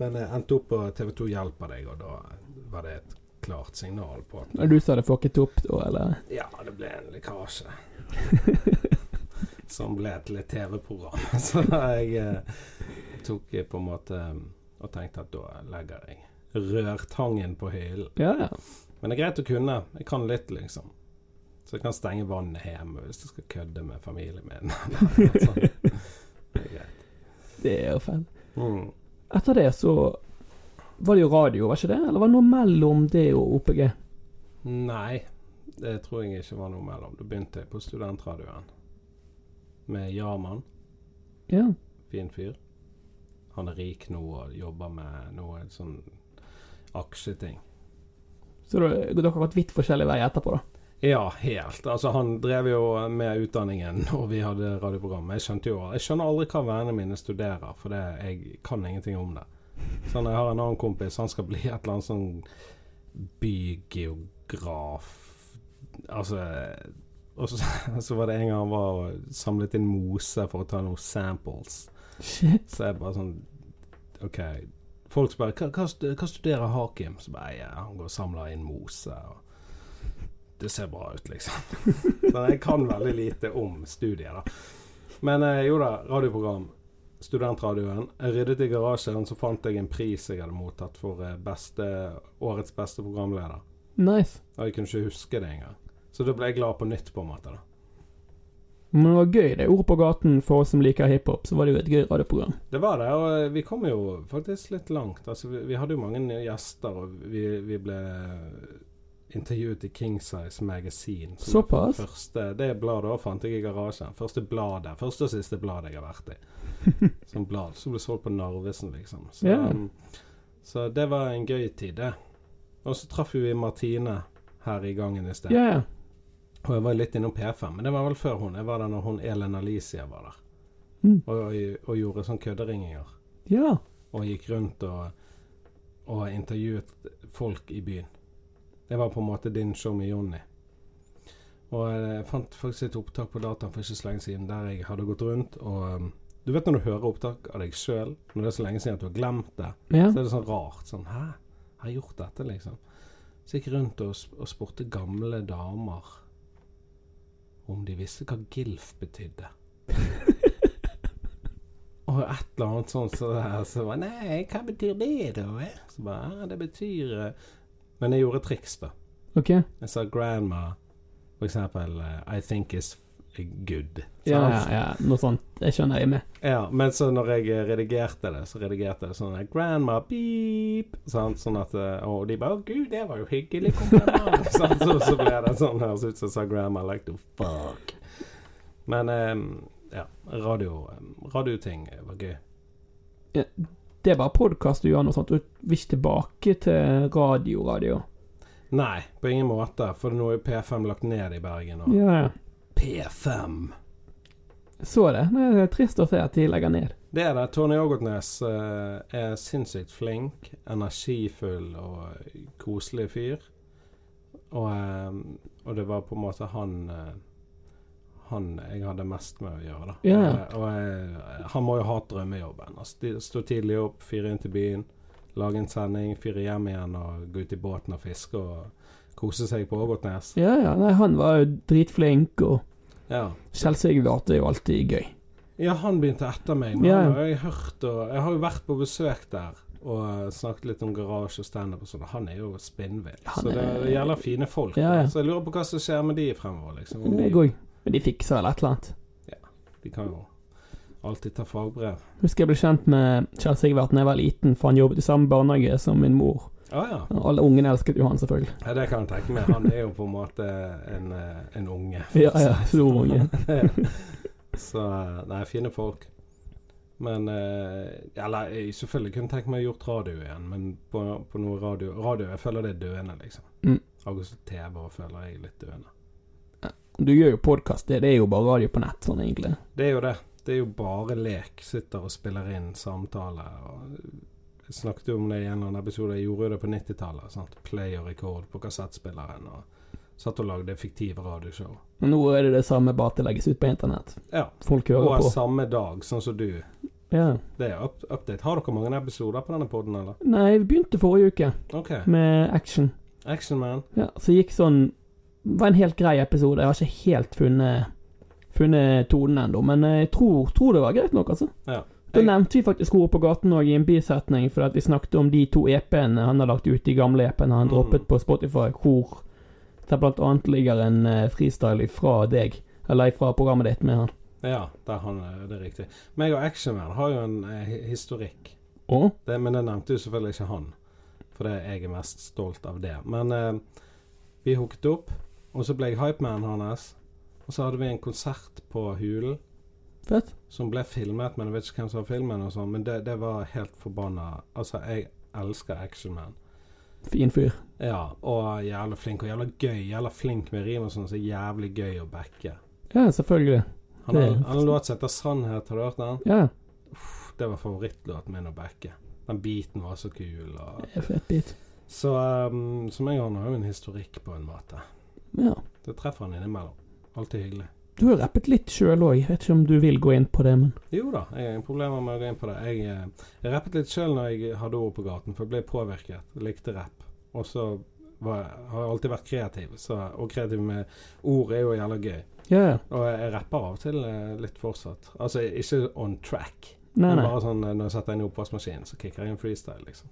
Speaker 3: Men jeg endte opp på TV2 Hjelper deg, og da var det et klart signal på at
Speaker 1: Og du sa det fucket opp da, eller?
Speaker 3: ja, det ble en
Speaker 1: (laughs)
Speaker 3: lekkasje. som ble til et TV-program. (laughs) Så jeg eh, tok eh, på en måte mm, og tenkte at da legger jeg rørtangen på hyllen.
Speaker 1: Ja, ja.
Speaker 3: Men det er greit å kunne. Jeg kan litt, liksom. Så jeg kan stenge vannet hjemme hvis jeg skal kødde med familien min. (laughs) Eller noe sånt. sånn. det er greit.
Speaker 1: Det er jo fett.
Speaker 3: Mm.
Speaker 1: Etter det så var det jo radio, var ikke det? Eller var det noe mellom det og OPG?
Speaker 3: Nei, det tror jeg ikke var noe mellom. Da begynte jeg på studentradioen med Jarman.
Speaker 1: Ja.
Speaker 3: fin fyr. Han er rik nå og jobber med noe sånn aksjeting.
Speaker 1: Så da- dere har gått vidt forskjellig vei etterpå, da.
Speaker 3: Ja, helt. Altså, han drev jo med utdanningen (laughs) når vi hadde radioprogrammet. Jeg skjønte jo Jeg skjønner aldri hva vennene mine studerer, for det, jeg kan ingenting om det. Sånn, jeg har en annen kompis, han skal bli et eller annet sånn bygeograf Altså Og så, (laughs) så var det en gang han var og samlet inn mose for å ta noen samples.
Speaker 1: Shit.
Speaker 3: Så jeg bare sånn OK. Folk spør hva, hva, stu- hva studerer Hakim? Så bare ja, han går og samler inn mose. Og det ser bra ut, liksom. Så jeg kan veldig lite om studiet, da. Men eh, jo da, radioprogram. Studentradioen. Jeg ryddet i garasjen, så fant jeg en pris jeg hadde mottatt for eh, beste, årets beste programleder.
Speaker 1: Nice.
Speaker 3: Og jeg kunne ikke huske det engang. Så da ble jeg glad på nytt, på en måte. da.
Speaker 1: Men det var gøy, det. Ord på gaten for oss som liker hiphop, så var det jo et gøy radioprogram.
Speaker 3: Det var det, og eh, vi kom jo faktisk litt langt. Altså, vi, vi hadde jo mange nye gjester, og vi, vi ble intervjuet i King Size Magazine. som er
Speaker 1: Såpass?
Speaker 3: Første, det bladet også fant jeg i garasjen. Første bladet, første og siste bladet jeg har vært i.
Speaker 1: (laughs)
Speaker 3: Som blad som ble solgt på Narvesen, liksom. Så,
Speaker 1: Ja.
Speaker 3: um, så det var en gøy tid, det. Og så traff vi Martine her i gangen i sted.
Speaker 1: Ja, ja.
Speaker 3: Og jeg var litt innom P5, men det var vel før hun. Jeg var der når hun Elen Alicia var der.
Speaker 1: Mm.
Speaker 3: Og, og, og gjorde sånn kødderinginger
Speaker 1: Ja.
Speaker 3: og gikk rundt og, og intervjuet folk i byen. Det var på en måte din show med Jonny. Og jeg fant faktisk et opptak på dataen for ikke så lenge siden der jeg hadde gått rundt og um, Du vet når du hører opptak av deg sjøl, når det er så lenge siden at du har glemt det,
Speaker 1: ja. (laughs)
Speaker 3: så er det sånn rart. Sånn Hæ? Har jeg gjort dette, liksom? Så jeg gikk rundt og, sp- og spurte gamle damer om de visste hva GILF betydde. og et eller annet sånt så der, så bare Nei, hva betyr det, da? eh?» Så bare Ja, det betyr eh». Men jeg gjorde triks, da.
Speaker 1: Ok.
Speaker 3: Jeg sa grandma, for eksempel eh, I think is good.
Speaker 1: Ja,
Speaker 3: Sant?
Speaker 1: ja, ja. Noe sånt. Jeg skjønner, jeg er med.
Speaker 3: Ja, men så når jeg eh, redigerte det, så redigerte jeg det sånn der, Grandma, beep! Sant? Sånn at eh, Og de bare Å, gud, det var jo hyggelig kompliment! (laughs) sant? Så, så ble det sånn høres ut som jeg sa grandma like to fuck. Men eh, ja, radio eh, radioting var gøy.
Speaker 1: Det er bare podkast du gjør noe sånt. Du vil ikke tilbake til radio, radio.
Speaker 3: Nei, på ingen måte, for nå er jo P5 lagt ned i Bergen. Og
Speaker 1: Ja, ja.
Speaker 3: P5!
Speaker 1: Jeg Så det. Nei, Det er trist å se at de legger ned.
Speaker 3: Det er det. Tony Ågotnes eh, er sinnssykt flink, energifull og koselig fyr. Og, eh, og det var på en måte han eh, han jeg hadde mest med å gjøre, da.
Speaker 1: Ja.
Speaker 3: Eh, og jeg, han må jo ha drømmejobben. Altså, de- stå tidlig opp, fyre inn til byen, lage en sending, fyre hjem igjen og gå ut i båten og fiske og kose seg på Ågotnes.
Speaker 1: Ja, ja. Nei, han var jo dritflink, og
Speaker 3: Ja.
Speaker 1: selvsikkert er jo alltid gøy.
Speaker 3: Ja, han begynte etter meg, men
Speaker 1: Ja, ja.
Speaker 3: han har jeg hørt og Jeg har jo vært på besøk der Og eh, snakket litt om garasje og standup og sånn. Han er jo spinnvill.
Speaker 4: Han
Speaker 3: Så det
Speaker 4: er-
Speaker 3: gjelder fine folk.
Speaker 1: Ja, ja.
Speaker 3: Så jeg lurer på hva som skjer med de fremover, liksom. Om
Speaker 1: Jeg
Speaker 3: de,
Speaker 1: òg. Men de fikser vel et eller annet.
Speaker 3: de kan jo alltid ta fagbrev.
Speaker 1: Husker jeg ble kjent med Kjell Sigvart da jeg var liten, for han jobbet i samme barnehage som min mor.
Speaker 3: Ja, ja.
Speaker 1: Alle ungene elsket jo han, selvfølgelig.
Speaker 3: ja. Det kan jeg tenke meg. Han er jo på en måte en, eh, en unge.
Speaker 1: (laughs) Ja, ja, Stor (laughs) unge.
Speaker 3: Så eh, Nei, fine folk. Men eh, Eller jeg selvfølgelig kunne tenke meg å gjort radio igjen, men på, på noe radio Radio, jeg føler det er døende, liksom.
Speaker 1: Mm.
Speaker 3: Akkurat som TV og føler jeg er litt døende.
Speaker 1: Du gjør jo podkast, det, det er jo bare radio på nett, sånn egentlig.
Speaker 3: Det er jo det. Det er jo bare lek. Sitter og spiller inn samtale og Jeg snakket jo om det i en eller annen episode. Jeg gjorde jo det på 90-tallet. sant? Play og record på kassettspilleren. og Satt og lagde fiktive radioshow.
Speaker 1: Men nå er det det samme, bare at det legges ut på internett.
Speaker 3: Ja.
Speaker 1: Folk hører
Speaker 3: Og
Speaker 1: på.
Speaker 3: samme dag, sånn som du.
Speaker 1: Ja.
Speaker 3: Det er up update. Har dere mange episoder på denne poden, eller?
Speaker 1: Nei, vi begynte forrige uke
Speaker 3: OK.
Speaker 1: med action.
Speaker 3: Action Man.
Speaker 1: Ja, så gikk sånn Det var en helt grei episode. Jeg har ikke helt funnet, funnet tonen ennå, men jeg tror, tror det var greit nok, altså.
Speaker 3: Ja.
Speaker 1: Da
Speaker 3: Jeg-
Speaker 1: nevnte vi faktisk Ord på gaten òg i en bisetning, fordi at vi snakket om de to EP-ene han har lagt ut, de gamle EP-ene han
Speaker 3: Mm.
Speaker 1: droppet på Spotify, hvor det blant annet ligger en eh, freestyle fra deg, eller fra programmet ditt med han.
Speaker 3: Ja, der han, eh, det er riktig. Meg og Action Man har jo en eh, hi- historikk.
Speaker 1: Og
Speaker 3: Det, men jeg nevnte jo selvfølgelig ikke han, for det jeg er mest stolt av det. Men eh, vi hooket opp, og så ble jeg hypeman hans. Og så hadde vi en konsert på Hulen
Speaker 1: fett.
Speaker 3: som ble filmet, men jeg vet ikke hvem som har filmen, og sånn, men det, det var helt forbanna Altså, jeg elsker Action Man.
Speaker 1: Fin fyr.
Speaker 3: Ja, og jævla flink, og jævla gøy. Jævla flink med rim og sånn, så jævlig gøy å backe.
Speaker 1: Ja, selvfølgelig.
Speaker 3: Han har
Speaker 1: Det-
Speaker 3: han har en låt som heter 'Sannhet', har du hørt den?
Speaker 1: Ja,
Speaker 3: Det var favorittlåten min å backe. Den biten var så kul. Og...
Speaker 1: det er fett bit.
Speaker 3: Så um, som jeg og han har jo en historikk, på en måte.
Speaker 1: Ja.
Speaker 3: Det treffer han innimellom. Alltid hyggelig.
Speaker 1: Du har rappet litt sjøl òg, vet ikke om du vil gå inn på det, men
Speaker 3: Jo da, jeg har ingen problemer med å gå inn på det. Jeg, eh, jeg rappet litt sjøl når jeg hadde ord på gaten, for jeg ble påvirket. Jeg likte rapp. Og så var, jeg- har jeg alltid vært kreativ, så, og kreativ med ord er jo jævla gøy.
Speaker 1: Ja, ja.
Speaker 3: Og jeg rapper av og til eh, litt fortsatt. Altså ikke on track,
Speaker 1: Nei,
Speaker 3: men
Speaker 1: nei.
Speaker 3: bare sånn eh, når jeg setter inn i oppvaskmaskinen, så kicker jeg en freestyle, liksom.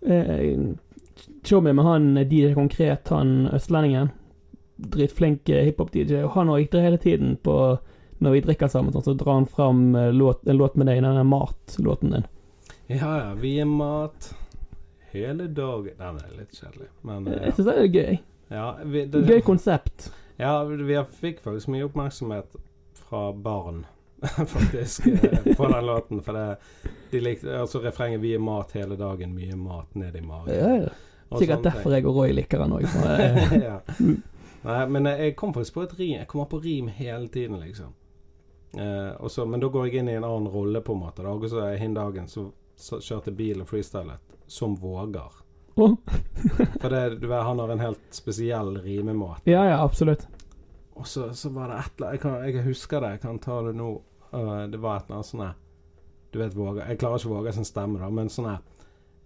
Speaker 1: Eh, Tjommi med han eh, DJ Konkret, han østlendingen. Dritflink eh, hiphop-DJ. Og han òg hele tiden på Når vi drikker sammen, sånn, så drar han fram eh, låt, en låt med deg, den der Mat-låten din.
Speaker 3: Ja, ja. Vi er mat hele dagen. Den er litt kjedelig, men
Speaker 1: Eh,
Speaker 3: eh,
Speaker 1: Jeg syns det er gøy.
Speaker 3: ja. ja, vi,
Speaker 1: Gøy
Speaker 3: det,
Speaker 1: konsept.
Speaker 3: ja vi har- fikk faktisk mye oppmerksomhet fra barn, (laughs) faktisk, eh, på den låten. For det, de likte altså refrenget 'Vi er mat hele dagen, mye mat ned i magen'.
Speaker 1: Ja, ja.
Speaker 3: sånn,
Speaker 1: Sikkert derfor jeg og Roy liker han òg.
Speaker 3: (laughs)
Speaker 1: eh,
Speaker 3: ja. Nei, men eh, jeg kom faktisk på et rim. Jeg kommer på rim hele tiden, liksom. Eh, og så- men da går jeg inn i en annen rolle, på en måte. da. Og så hin dagen så, så kjørte jeg bil og freestylet som våger. For det, du vet, han har en helt spesiell rimemåte.
Speaker 1: (laughs) Ja, ja, absolutt.
Speaker 3: Og så, så var det et eller annet jeg, kan- jeg husker det, jeg kan ta det nå. Øh, det var et eller annet sånn her Du vet Våga Jeg klarer ikke Våga sin stemme, da, men sånn her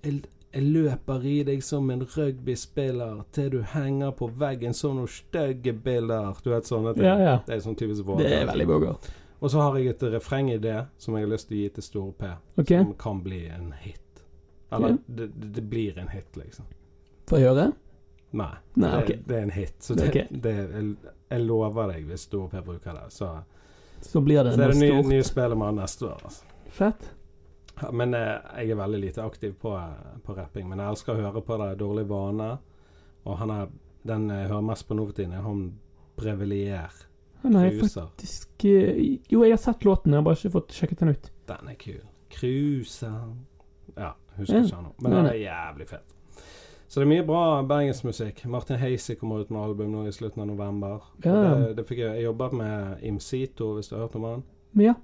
Speaker 3: jeg, jeg løper i deg som en rugbyspiller til du henger på veggen som noen stygge biller. Du vet sånne ting.
Speaker 1: Ja, ja.
Speaker 3: Det er sånn typisk Våga.
Speaker 1: Det er veldig bogart.
Speaker 3: Og så har jeg et refreng i det som jeg har lyst til å gi til Store P,
Speaker 1: OK,
Speaker 3: som kan bli en hit. Eller
Speaker 1: Ja.
Speaker 3: det, det, det blir en hit, liksom.
Speaker 1: får jeg høre?
Speaker 3: Nei.
Speaker 1: Nei,
Speaker 3: det,
Speaker 1: OK.
Speaker 3: det er en hit. Så det,
Speaker 1: Ok.
Speaker 3: det, jeg, jeg lover deg, hvis Store P bruker det, så,
Speaker 1: Så blir
Speaker 3: så
Speaker 1: det
Speaker 3: er det
Speaker 1: noe
Speaker 3: nye,
Speaker 1: stort.
Speaker 3: nye spellemann neste år. Altså.
Speaker 1: Fett.
Speaker 3: Ja, Men eh, jeg er veldig lite aktiv på, eh, på rapping. Men jeg elsker å høre på det. Dårlig vane. Og han er den eh, jeg hører mest på nå for tiden, er han Brevelier.
Speaker 1: Nei, jeg har
Speaker 3: Cruiser.
Speaker 1: faktisk eh, Jo, jeg har sett låten, jeg har bare ikke fått sjekket den ut.
Speaker 3: Den er kul. Cruiser Ja, husker
Speaker 1: Ja.
Speaker 3: ikke han nå. Men
Speaker 1: Nei,
Speaker 3: den er jævlig fet. Så det er mye bra bergensmusikk. Martin Heisi kommer ut med album nå i slutten av november. Og
Speaker 1: Ja.
Speaker 3: Det, det fikk jeg, jeg jobber med Imsito, hvis du har hørt om han.
Speaker 1: Men ja.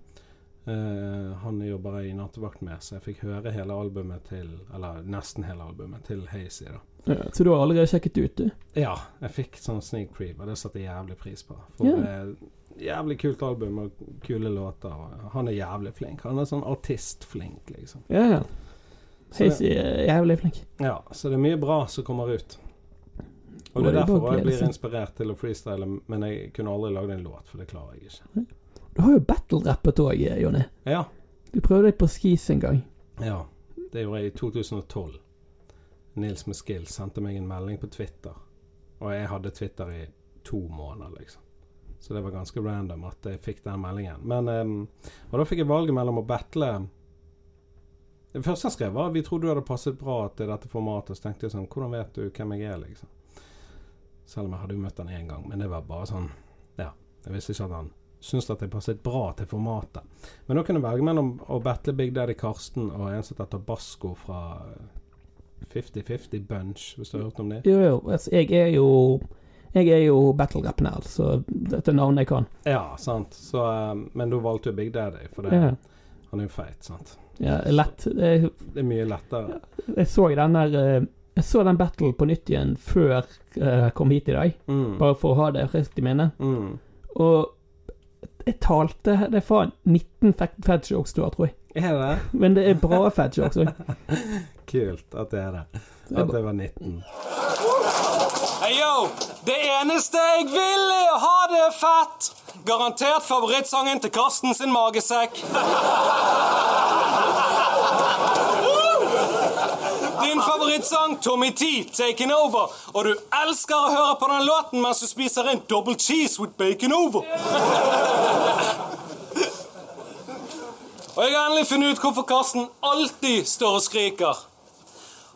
Speaker 3: Eh, han jobber jeg i nattevakt med, så jeg fikk høre hele albumet til Eller nesten hele albumet til Hazy, da.
Speaker 1: Ja, Så du har allerede sjekket det ut, du?
Speaker 3: Ja, jeg fikk sånn sneak preview, og det satte jeg jævlig pris på. For
Speaker 1: Ja.
Speaker 3: det er et jævlig kult album og kule låter. og Han er jævlig flink. Han er sånn artistflink, liksom.
Speaker 1: Ja, ja.
Speaker 3: Så det,
Speaker 1: Hazy er eh, jævlig flink.
Speaker 3: ja, så det er mye bra som kommer ut. Og
Speaker 1: Og
Speaker 3: det
Speaker 1: det
Speaker 3: er
Speaker 1: er
Speaker 3: derfor
Speaker 1: bare å
Speaker 3: jeg
Speaker 1: glede
Speaker 3: blir
Speaker 1: seg.
Speaker 3: inspirert til å freestyle, men jeg kunne aldri lagd en låt, for det klarer jeg ikke.
Speaker 1: Du har jo battle-rappet òg, eh, Jonny.
Speaker 3: Ja.
Speaker 1: Du prøvde deg på skis en gang.
Speaker 3: ja. Det gjorde jeg i 2012. Nils med skill sendte meg en melding på Twitter. Og jeg hadde Twitter i to måneder, liksom. Så det var ganske random at jeg fikk den meldingen. Men, ehm, og da fikk jeg valget mellom å battle Det første jeg skrev, var vi trodde du hadde passet bra til dette formatet. Så tenkte jeg sånn Hvordan vet du hvem jeg er, liksom? Selv om jeg hadde jo møtt han én gang. Men det var bare sånn Ja. Jeg visste ikke at han syntes at jeg passet bra til formatet. Men da kunne jeg velge mellom å battle Big Daddy Karsten og en som heter Basco fra 50-50 Bunch, hvis du har hørt om det?
Speaker 1: Jo, jo, altså, jeg er jo Jeg er jo battle-rap-nerd, så dette er navnet jeg kan.
Speaker 3: Ja, sant. Så, eh, men da valgte jeg Big Daddy, for det,
Speaker 1: Ja,
Speaker 3: han er jo feit, sant.
Speaker 1: ja lett. Jeg,
Speaker 3: Det er mye lettere.
Speaker 1: jeg så den der eh, Jeg så den battle på nytt igjen før eh, jeg kom hit i dag,
Speaker 3: Mm.
Speaker 1: bare for å ha det friskt i minne.
Speaker 3: Mm.
Speaker 1: Og jeg talte Det er faen 19 fat fat jokes du har, tror jeg.
Speaker 3: Er det
Speaker 1: Men det er bra fat jokes òg.
Speaker 3: kult at det er det? At det var 19.
Speaker 5: Hey yo, det eneste jeg vil er å ha det fett. Garantert favorittsangen til Karsten sin magesekk. Din favorittsang Tommy T, 'Taken Over'. Og du elsker å høre på den låten mens du spiser en double cheese with bacon over. Og jeg har endelig funnet ut hvorfor Karsten alltid står og skriker.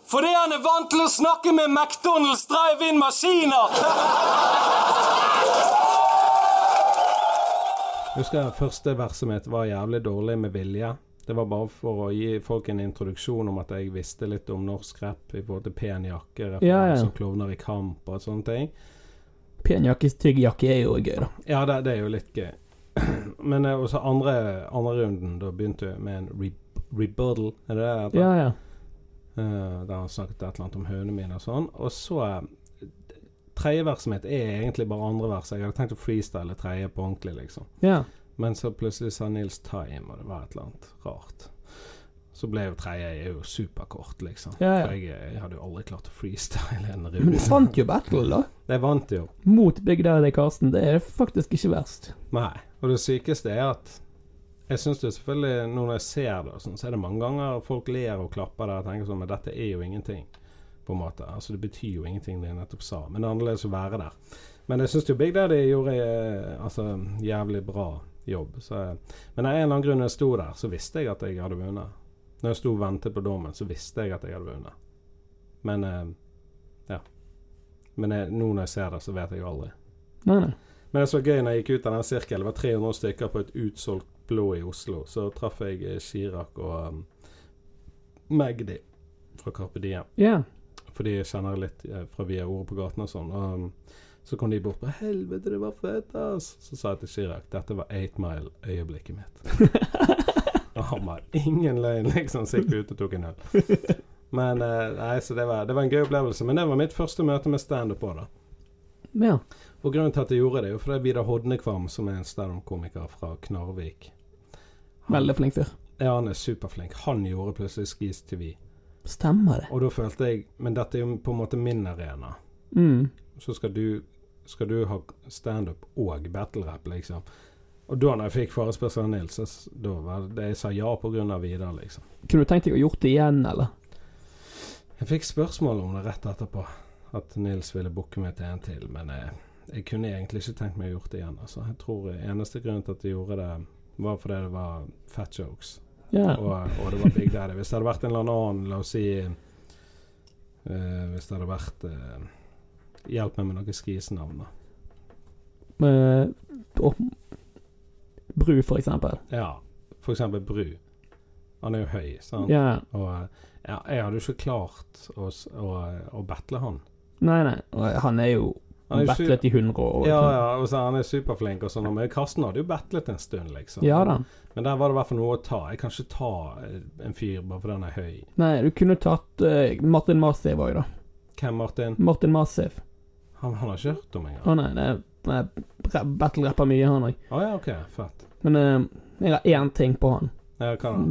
Speaker 5: Fordi han er vant til å snakke med McDonald's drive-in-maskiner.
Speaker 3: (laughs) Jeg husker første verset mitt var jævlig dårlig med vilje. Det var bare for å gi folk en introduksjon om at jeg visste litt om norsk rap i forhold til pen jakke, referanser,
Speaker 1: Ja, ja.
Speaker 3: klovner i kamp og sånne ting.
Speaker 1: Penjakke, stygg jakke er jo gøy, da.
Speaker 3: Ja, det, det er jo litt gøy. (clears throat) Men eh, også andre, andre runden, da begynte jeg med en re rebuttal, er det det det heter?
Speaker 1: Ja, ja.
Speaker 3: Eh, der han snakket et eller annet om hønene mine og sånn. Og så eh, Tredje verset mitt er egentlig bare andre verset. Jeg hadde tenkt å freestyle tredje på ordentlig, liksom.
Speaker 1: ja.
Speaker 3: Men så plutselig sa Nils Time, og det var et eller annet rart. Så ble jo tredje er jo superkort, liksom.
Speaker 1: Ja, ja.
Speaker 3: For jeg, eh, jeg hadde jo aldri klart å freestyle en
Speaker 1: Men
Speaker 3: (laughs)
Speaker 1: du
Speaker 3: revy.
Speaker 1: fant jo battle, da.
Speaker 3: Jeg vant jo.
Speaker 1: Mot Big Daddy Karsten. Det er faktisk ikke verst.
Speaker 3: Nei. Og det sykeste er at jeg syns jo selvfølgelig, nå når jeg ser det, og sånn, så er det mange ganger folk ler og klapper der og tenker sånn Men dette er jo ingenting, på en måte. Altså det betyr jo ingenting, det jeg nettopp sa. Men det er annerledes å være der. Men jeg syns jo Big Daddy gjorde eh, altså, jævlig bra jobb. Så, eh, men av en eller annen grunn når jeg sto der, så visste jeg at jeg hadde vunnet. Når jeg sto og ventet på dommen, så visste jeg at jeg hadde vunnet. Men eh, ja. Men jeg, nå når jeg ser det, så vet jeg jo aldri.
Speaker 1: Nei, nei.
Speaker 3: Men det som var gøy når jeg gikk ut av den sirkelen, det var 300 stykker på et utsolgt blå i Oslo. Så traff jeg eh, Chirag og um, Magdi fra Carpe Diem.
Speaker 1: (laughs) Ja.
Speaker 3: For de kjenner jeg litt eh, fra via ordet på gaten og sånn. Og um, så kom de bort på 'Helvete, det var fett, ass'. Så sa jeg til Chirag dette var 8 Mile-øyeblikket mitt. og han var ingen løgn, liksom. Så gikk vi ut og tok en øl. Men eh, nei, så det var, det var en gøy opplevelse. Men det var mitt første møte med standup òg, da.
Speaker 1: ja.
Speaker 3: Og grunnen til at jeg gjorde det, er jo fordi Vidar Hodnekvam, som er en standup-komiker fra Knarvik
Speaker 1: Veldig flink fyr.
Speaker 3: Ja, han er superflink. Han gjorde plutselig Skis TV.
Speaker 1: Stemmer det.
Speaker 3: Og da følte jeg Men dette er jo på en måte min arena.
Speaker 1: Mm.
Speaker 3: Så skal du, skal du ha standup og battle-rap, liksom. Og da når jeg fikk forespørsel av Nils, så s- da var det jeg sa ja pga. Vidar, liksom.
Speaker 1: Kunne du tenkt deg å gjort det igjen, eller?
Speaker 3: Jeg fikk spørsmål om det rett etterpå, at Nils ville booke meg til en til, men jeg, jeg kunne egentlig ikke tenkt meg å gjort det igjen. Altså. Jeg tror eneste grunnen til at jeg gjorde det, var fordi det var fat jokes,
Speaker 1: Ja.
Speaker 3: og, eh, og det var Big Daddy. Hvis det hadde vært en eller annen, la oss si eh, Hvis det hadde vært eh, Hjelp meg med noen skisnavn, da.
Speaker 1: Med, og, bru, for eksempel.
Speaker 3: Ja, for eksempel Bru. Han er jo høy, sant?
Speaker 1: Ja.
Speaker 3: Og eh, ja, jeg hadde jo ikke klart å, s- å, eh, å battle han.
Speaker 1: Nei, nei. Og Han er jo
Speaker 3: Han er jo
Speaker 1: battlet i 100 år.
Speaker 3: Ja, ja, og så han er superflink og sånn, men Karsten hadde jo battlet en stund, liksom.
Speaker 1: Ja da.
Speaker 3: Men der var det i hvert fall noe å ta. Jeg kan ikke ta eh, en fyr bare fordi han er høy.
Speaker 1: Nei, du kunne tatt eh, Martin Masiv òg, da.
Speaker 3: Hvem, Martin?
Speaker 1: Martin Masiv.
Speaker 3: Han, han har ikke hørt om engang.
Speaker 1: Å nei, det er nei, rap- battle-rapper mye, han òg.
Speaker 3: Å ja, OK. Fett.
Speaker 1: Men eh, jeg har én ting på han.
Speaker 3: Ja, hva da?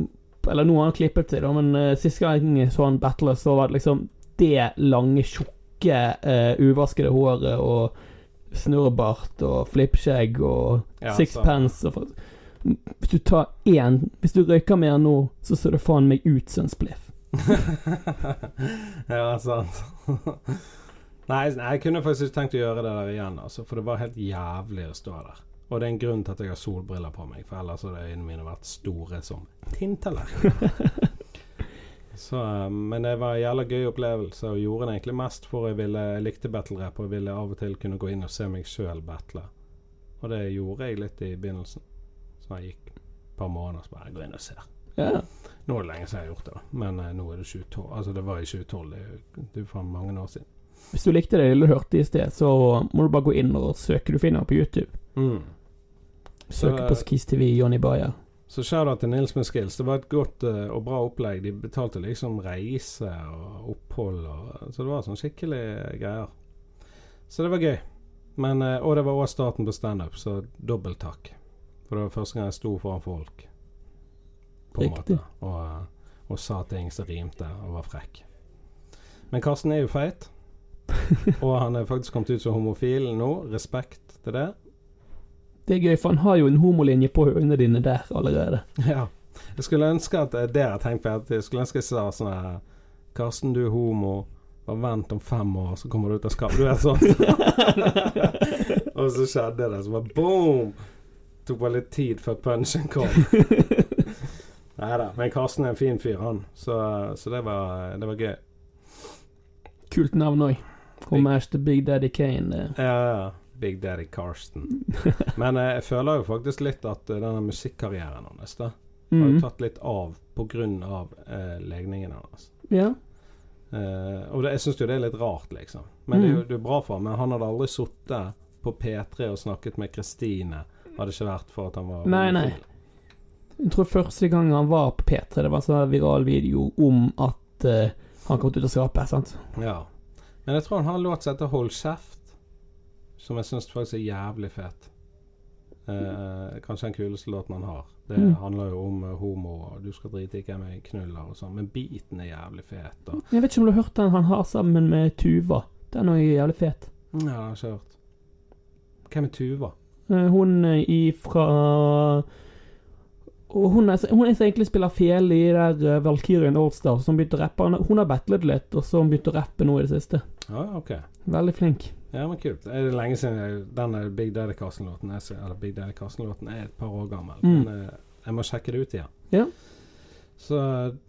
Speaker 1: Eller noe han har klippet til, da, men uh, sist gang jeg så han battle, så var det liksom det lange, tjukke, eh, uvaskede håret og snurrebart og flippskjegg og
Speaker 3: Ja,
Speaker 1: sixpence og for- Hvis du tar én Hvis du røyker med han nå, så ser du faen meg ut som en spliff.
Speaker 3: (laughs) ja, sant. nei, nei, jeg kunne faktisk ikke tenkt å gjøre det der igjen, altså, for det var helt jævlig å stå der. Og det er en grunn til at jeg har solbriller på meg, for ellers hadde øynene mine vært store som tinntallerkener. Så, eh, men det var en jævla gøy opplevelse, og gjorde det egentlig mest for jeg ville jeg likte battle rap, og ville av og til kunne gå inn og se meg sjøl battle. Og det gjorde jeg litt i begynnelsen. Så jeg gikk et par måneder så bare gå inn og se.
Speaker 1: Ja.
Speaker 3: Nå er det lenge siden jeg har gjort det, da. men eh, nå er det 2012. Altså, det var i 2012, det er jo- det er jo faen mange år siden.
Speaker 1: Hvis du likte det du hørte i sted, så må du bare gå inn og søke. Du finner det på YouTube.
Speaker 3: Mm.
Speaker 1: Søke
Speaker 3: Så-
Speaker 1: på Skis TV Johnny Bayer. (laughs)
Speaker 3: Så shout-out til Nils med skills. Det var et godt eh, og bra opplegg. De betalte liksom reise og opphold, og, så det var sånn skikkelig greier. Så det var gøy. Men, eh, og det var òg starten på standup, så dobbelt takk. For det var første gang jeg sto foran folk. På en
Speaker 1: Riktig.
Speaker 3: måte. Og, eh, og sa ting som rimte, og var frekk. Men Karsten er jo feit. og han er faktisk kommet ut som homofil nå. Respekt til det.
Speaker 1: Det er gøy, for han har jo en homolinje på øynene dine der
Speaker 3: (laughs)
Speaker 1: allerede.
Speaker 3: Ja. Jeg skulle ønske at eh, det har jeg tenkt på. At jeg skulle ønske jeg sa sånn her Karsten, du er homo. Bare vent om fem år, så kommer du ut av skapet. Du er
Speaker 1: (laughs)
Speaker 3: sånn. og så skjedde det. Så bare boom! Tok bare litt tid før punchen kom. Nei da. Men Karsten er en fin fyr, han. Så, så det, var, det var gøy.
Speaker 1: Kult navn òg. Homage til Big Daddy Kane. eh?
Speaker 3: (laughs)
Speaker 1: det.
Speaker 3: Ja, ja. Big Daddy Karsten. Men eh, jeg føler jo faktisk litt at eh, denne musikkarrieren hans da, har jo
Speaker 1: Mm.
Speaker 3: tatt litt av pga. Eh, legningen hans.
Speaker 1: Ja.
Speaker 3: Eh, og det, jeg syns jo det er litt rart, liksom. Men det, er jo,
Speaker 1: Mhm.
Speaker 3: det er bra for ham. Men han hadde aldri sittet på P3 og snakket med Kristine, hadde ikke vært for at han var
Speaker 1: Nei, nei.
Speaker 3: homofil.
Speaker 1: Jeg tror første gang han var på P3, det var en sånn viral video om at eh, han kom ut av skapet. sant?
Speaker 3: Ja. Men jeg tror han har en låt som heter 'Hold kjeft', som jeg syns faktisk er jævlig fet. Eh, kanskje den kuleste låten han har. Det
Speaker 1: Mm.
Speaker 3: handler jo om eh, homo og du skal drite i hvem jeg knuller og sånn, men beaten er jævlig fet. Og,
Speaker 1: Jeg vet ikke om du har hørt den han har sammen med Tuva. Den er jo jævlig fet.
Speaker 3: ja, jeg har ikke hørt. Hvem er Tuva?
Speaker 1: Eh, Hun eh, ifra og hun er, hun er som egentlig spiller fele i der eh, Valkyrien Allstar, som begynte å rappe. Hun- Hun har battlet litt, og så har hun begynt å rappe nå i det siste.
Speaker 3: Ja, ok.
Speaker 1: Veldig flink.
Speaker 3: Ja, men kult. Er det lenge siden jeg, den Big Daddy Karsten-låten er, eller Big Daddy Karsten-låten er et par år gammel?
Speaker 1: Mm.
Speaker 3: Men eh, jeg må sjekke det ut igjen.
Speaker 1: Ja.
Speaker 3: Så,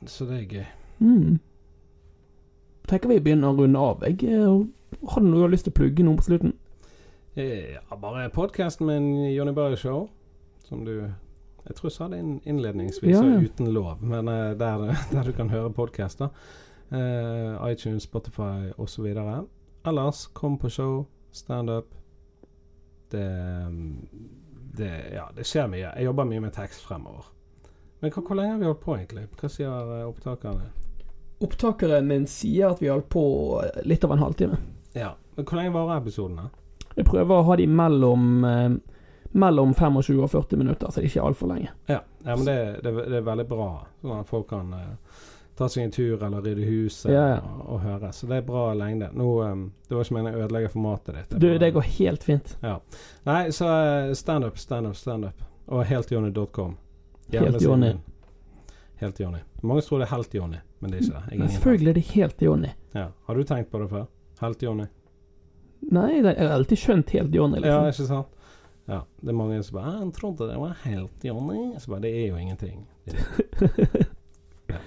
Speaker 3: så det er gøy.
Speaker 1: Mm. Tenker vi begynner å runde av. Jeg eh, hadde noe lyst til å plugge noe på slutten.
Speaker 3: Eh, Ja, bare podkasten min, Johnny Børre Show, som du Jeg tror jeg sa det inn- innledningsvis,
Speaker 1: Ja, ja.
Speaker 3: og uten lov, men eh, der, der du kan høre podkaster. Eh, iTunes, Spotify osv. Ellers, kom på show, standup. Det, mm, det Ja, det skjer mye. Jeg jobber mye med tekst fremover. Men hva, hvor lenge har vi holdt på, egentlig? Hva sier eh, opptakerne?
Speaker 1: Opptakeren min sier at vi holdt på eh, litt over en halvtime.
Speaker 3: Ja. Men Hvor lenge varer episodene?
Speaker 1: Jeg prøver å ha de mellom eh, Mellom 25 og 40 minutter, så det er ikke altfor lenge.
Speaker 3: Ja, ja men det, det, det er veldig bra. Sånn at folk kan eh, ta seg en tur eller rydde huset
Speaker 1: Ja, ja.
Speaker 3: Og, og høre. Så det er bra lengde. Nå, em, det var ikke meningen å ødelegge formatet ditt.
Speaker 1: Du, det går helt fint.
Speaker 3: Nei, så eh, standup, standup, standup. Og heltjohnny.com.
Speaker 1: Helt Johnny.
Speaker 3: Helt Johnny. Mange tror det er Helt Johnny, men det er ikke det. Jeg er
Speaker 1: Men
Speaker 3: ingen
Speaker 1: selvfølgelig er det helt Johnny.
Speaker 3: helt. Ja. Har du tenkt på det før? Helt Johnny?
Speaker 1: Nei, det- jeg har alltid skjønt helt Johnny,
Speaker 3: Ja,
Speaker 1: liksom.
Speaker 3: ikke sant? Ja. Det er mange som bare «Ah, 'Han trodde det var helt Johnny.' Så bare Det er jo ingenting. ja.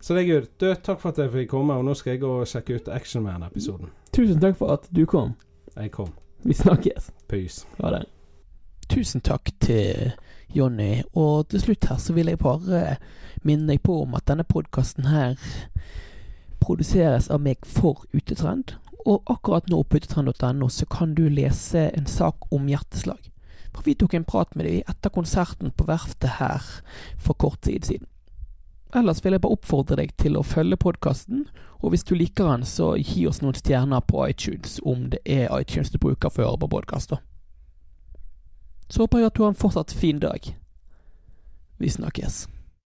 Speaker 3: Så det er good. Du, takk for at jeg fikk komme, og nå skal jeg gå og sjekke ut Actionman-episoden.
Speaker 1: Tusen takk for at du kom.
Speaker 3: Jeg kom.
Speaker 1: Vi snakkes.
Speaker 3: Peace.
Speaker 1: Ha det.
Speaker 6: Tusen takk til Jonny. Og til slutt her så vil jeg bare minne deg på om at denne podkasten her produseres av meg for Utetrend. Og akkurat nå på utetrend.no så kan du lese en sak om hjerteslag. For vi tok en prat med dem etter konserten på Verftet her for kort tid siden. Ellers vil jeg bare oppfordre deg til å følge podkasten, og hvis du liker den, så gi oss noen stjerner på iTunes, om det er iTunes du bruker for å høre på podkast, da. Så håper jeg at du har en fortsatt fin dag. Vi snakkes.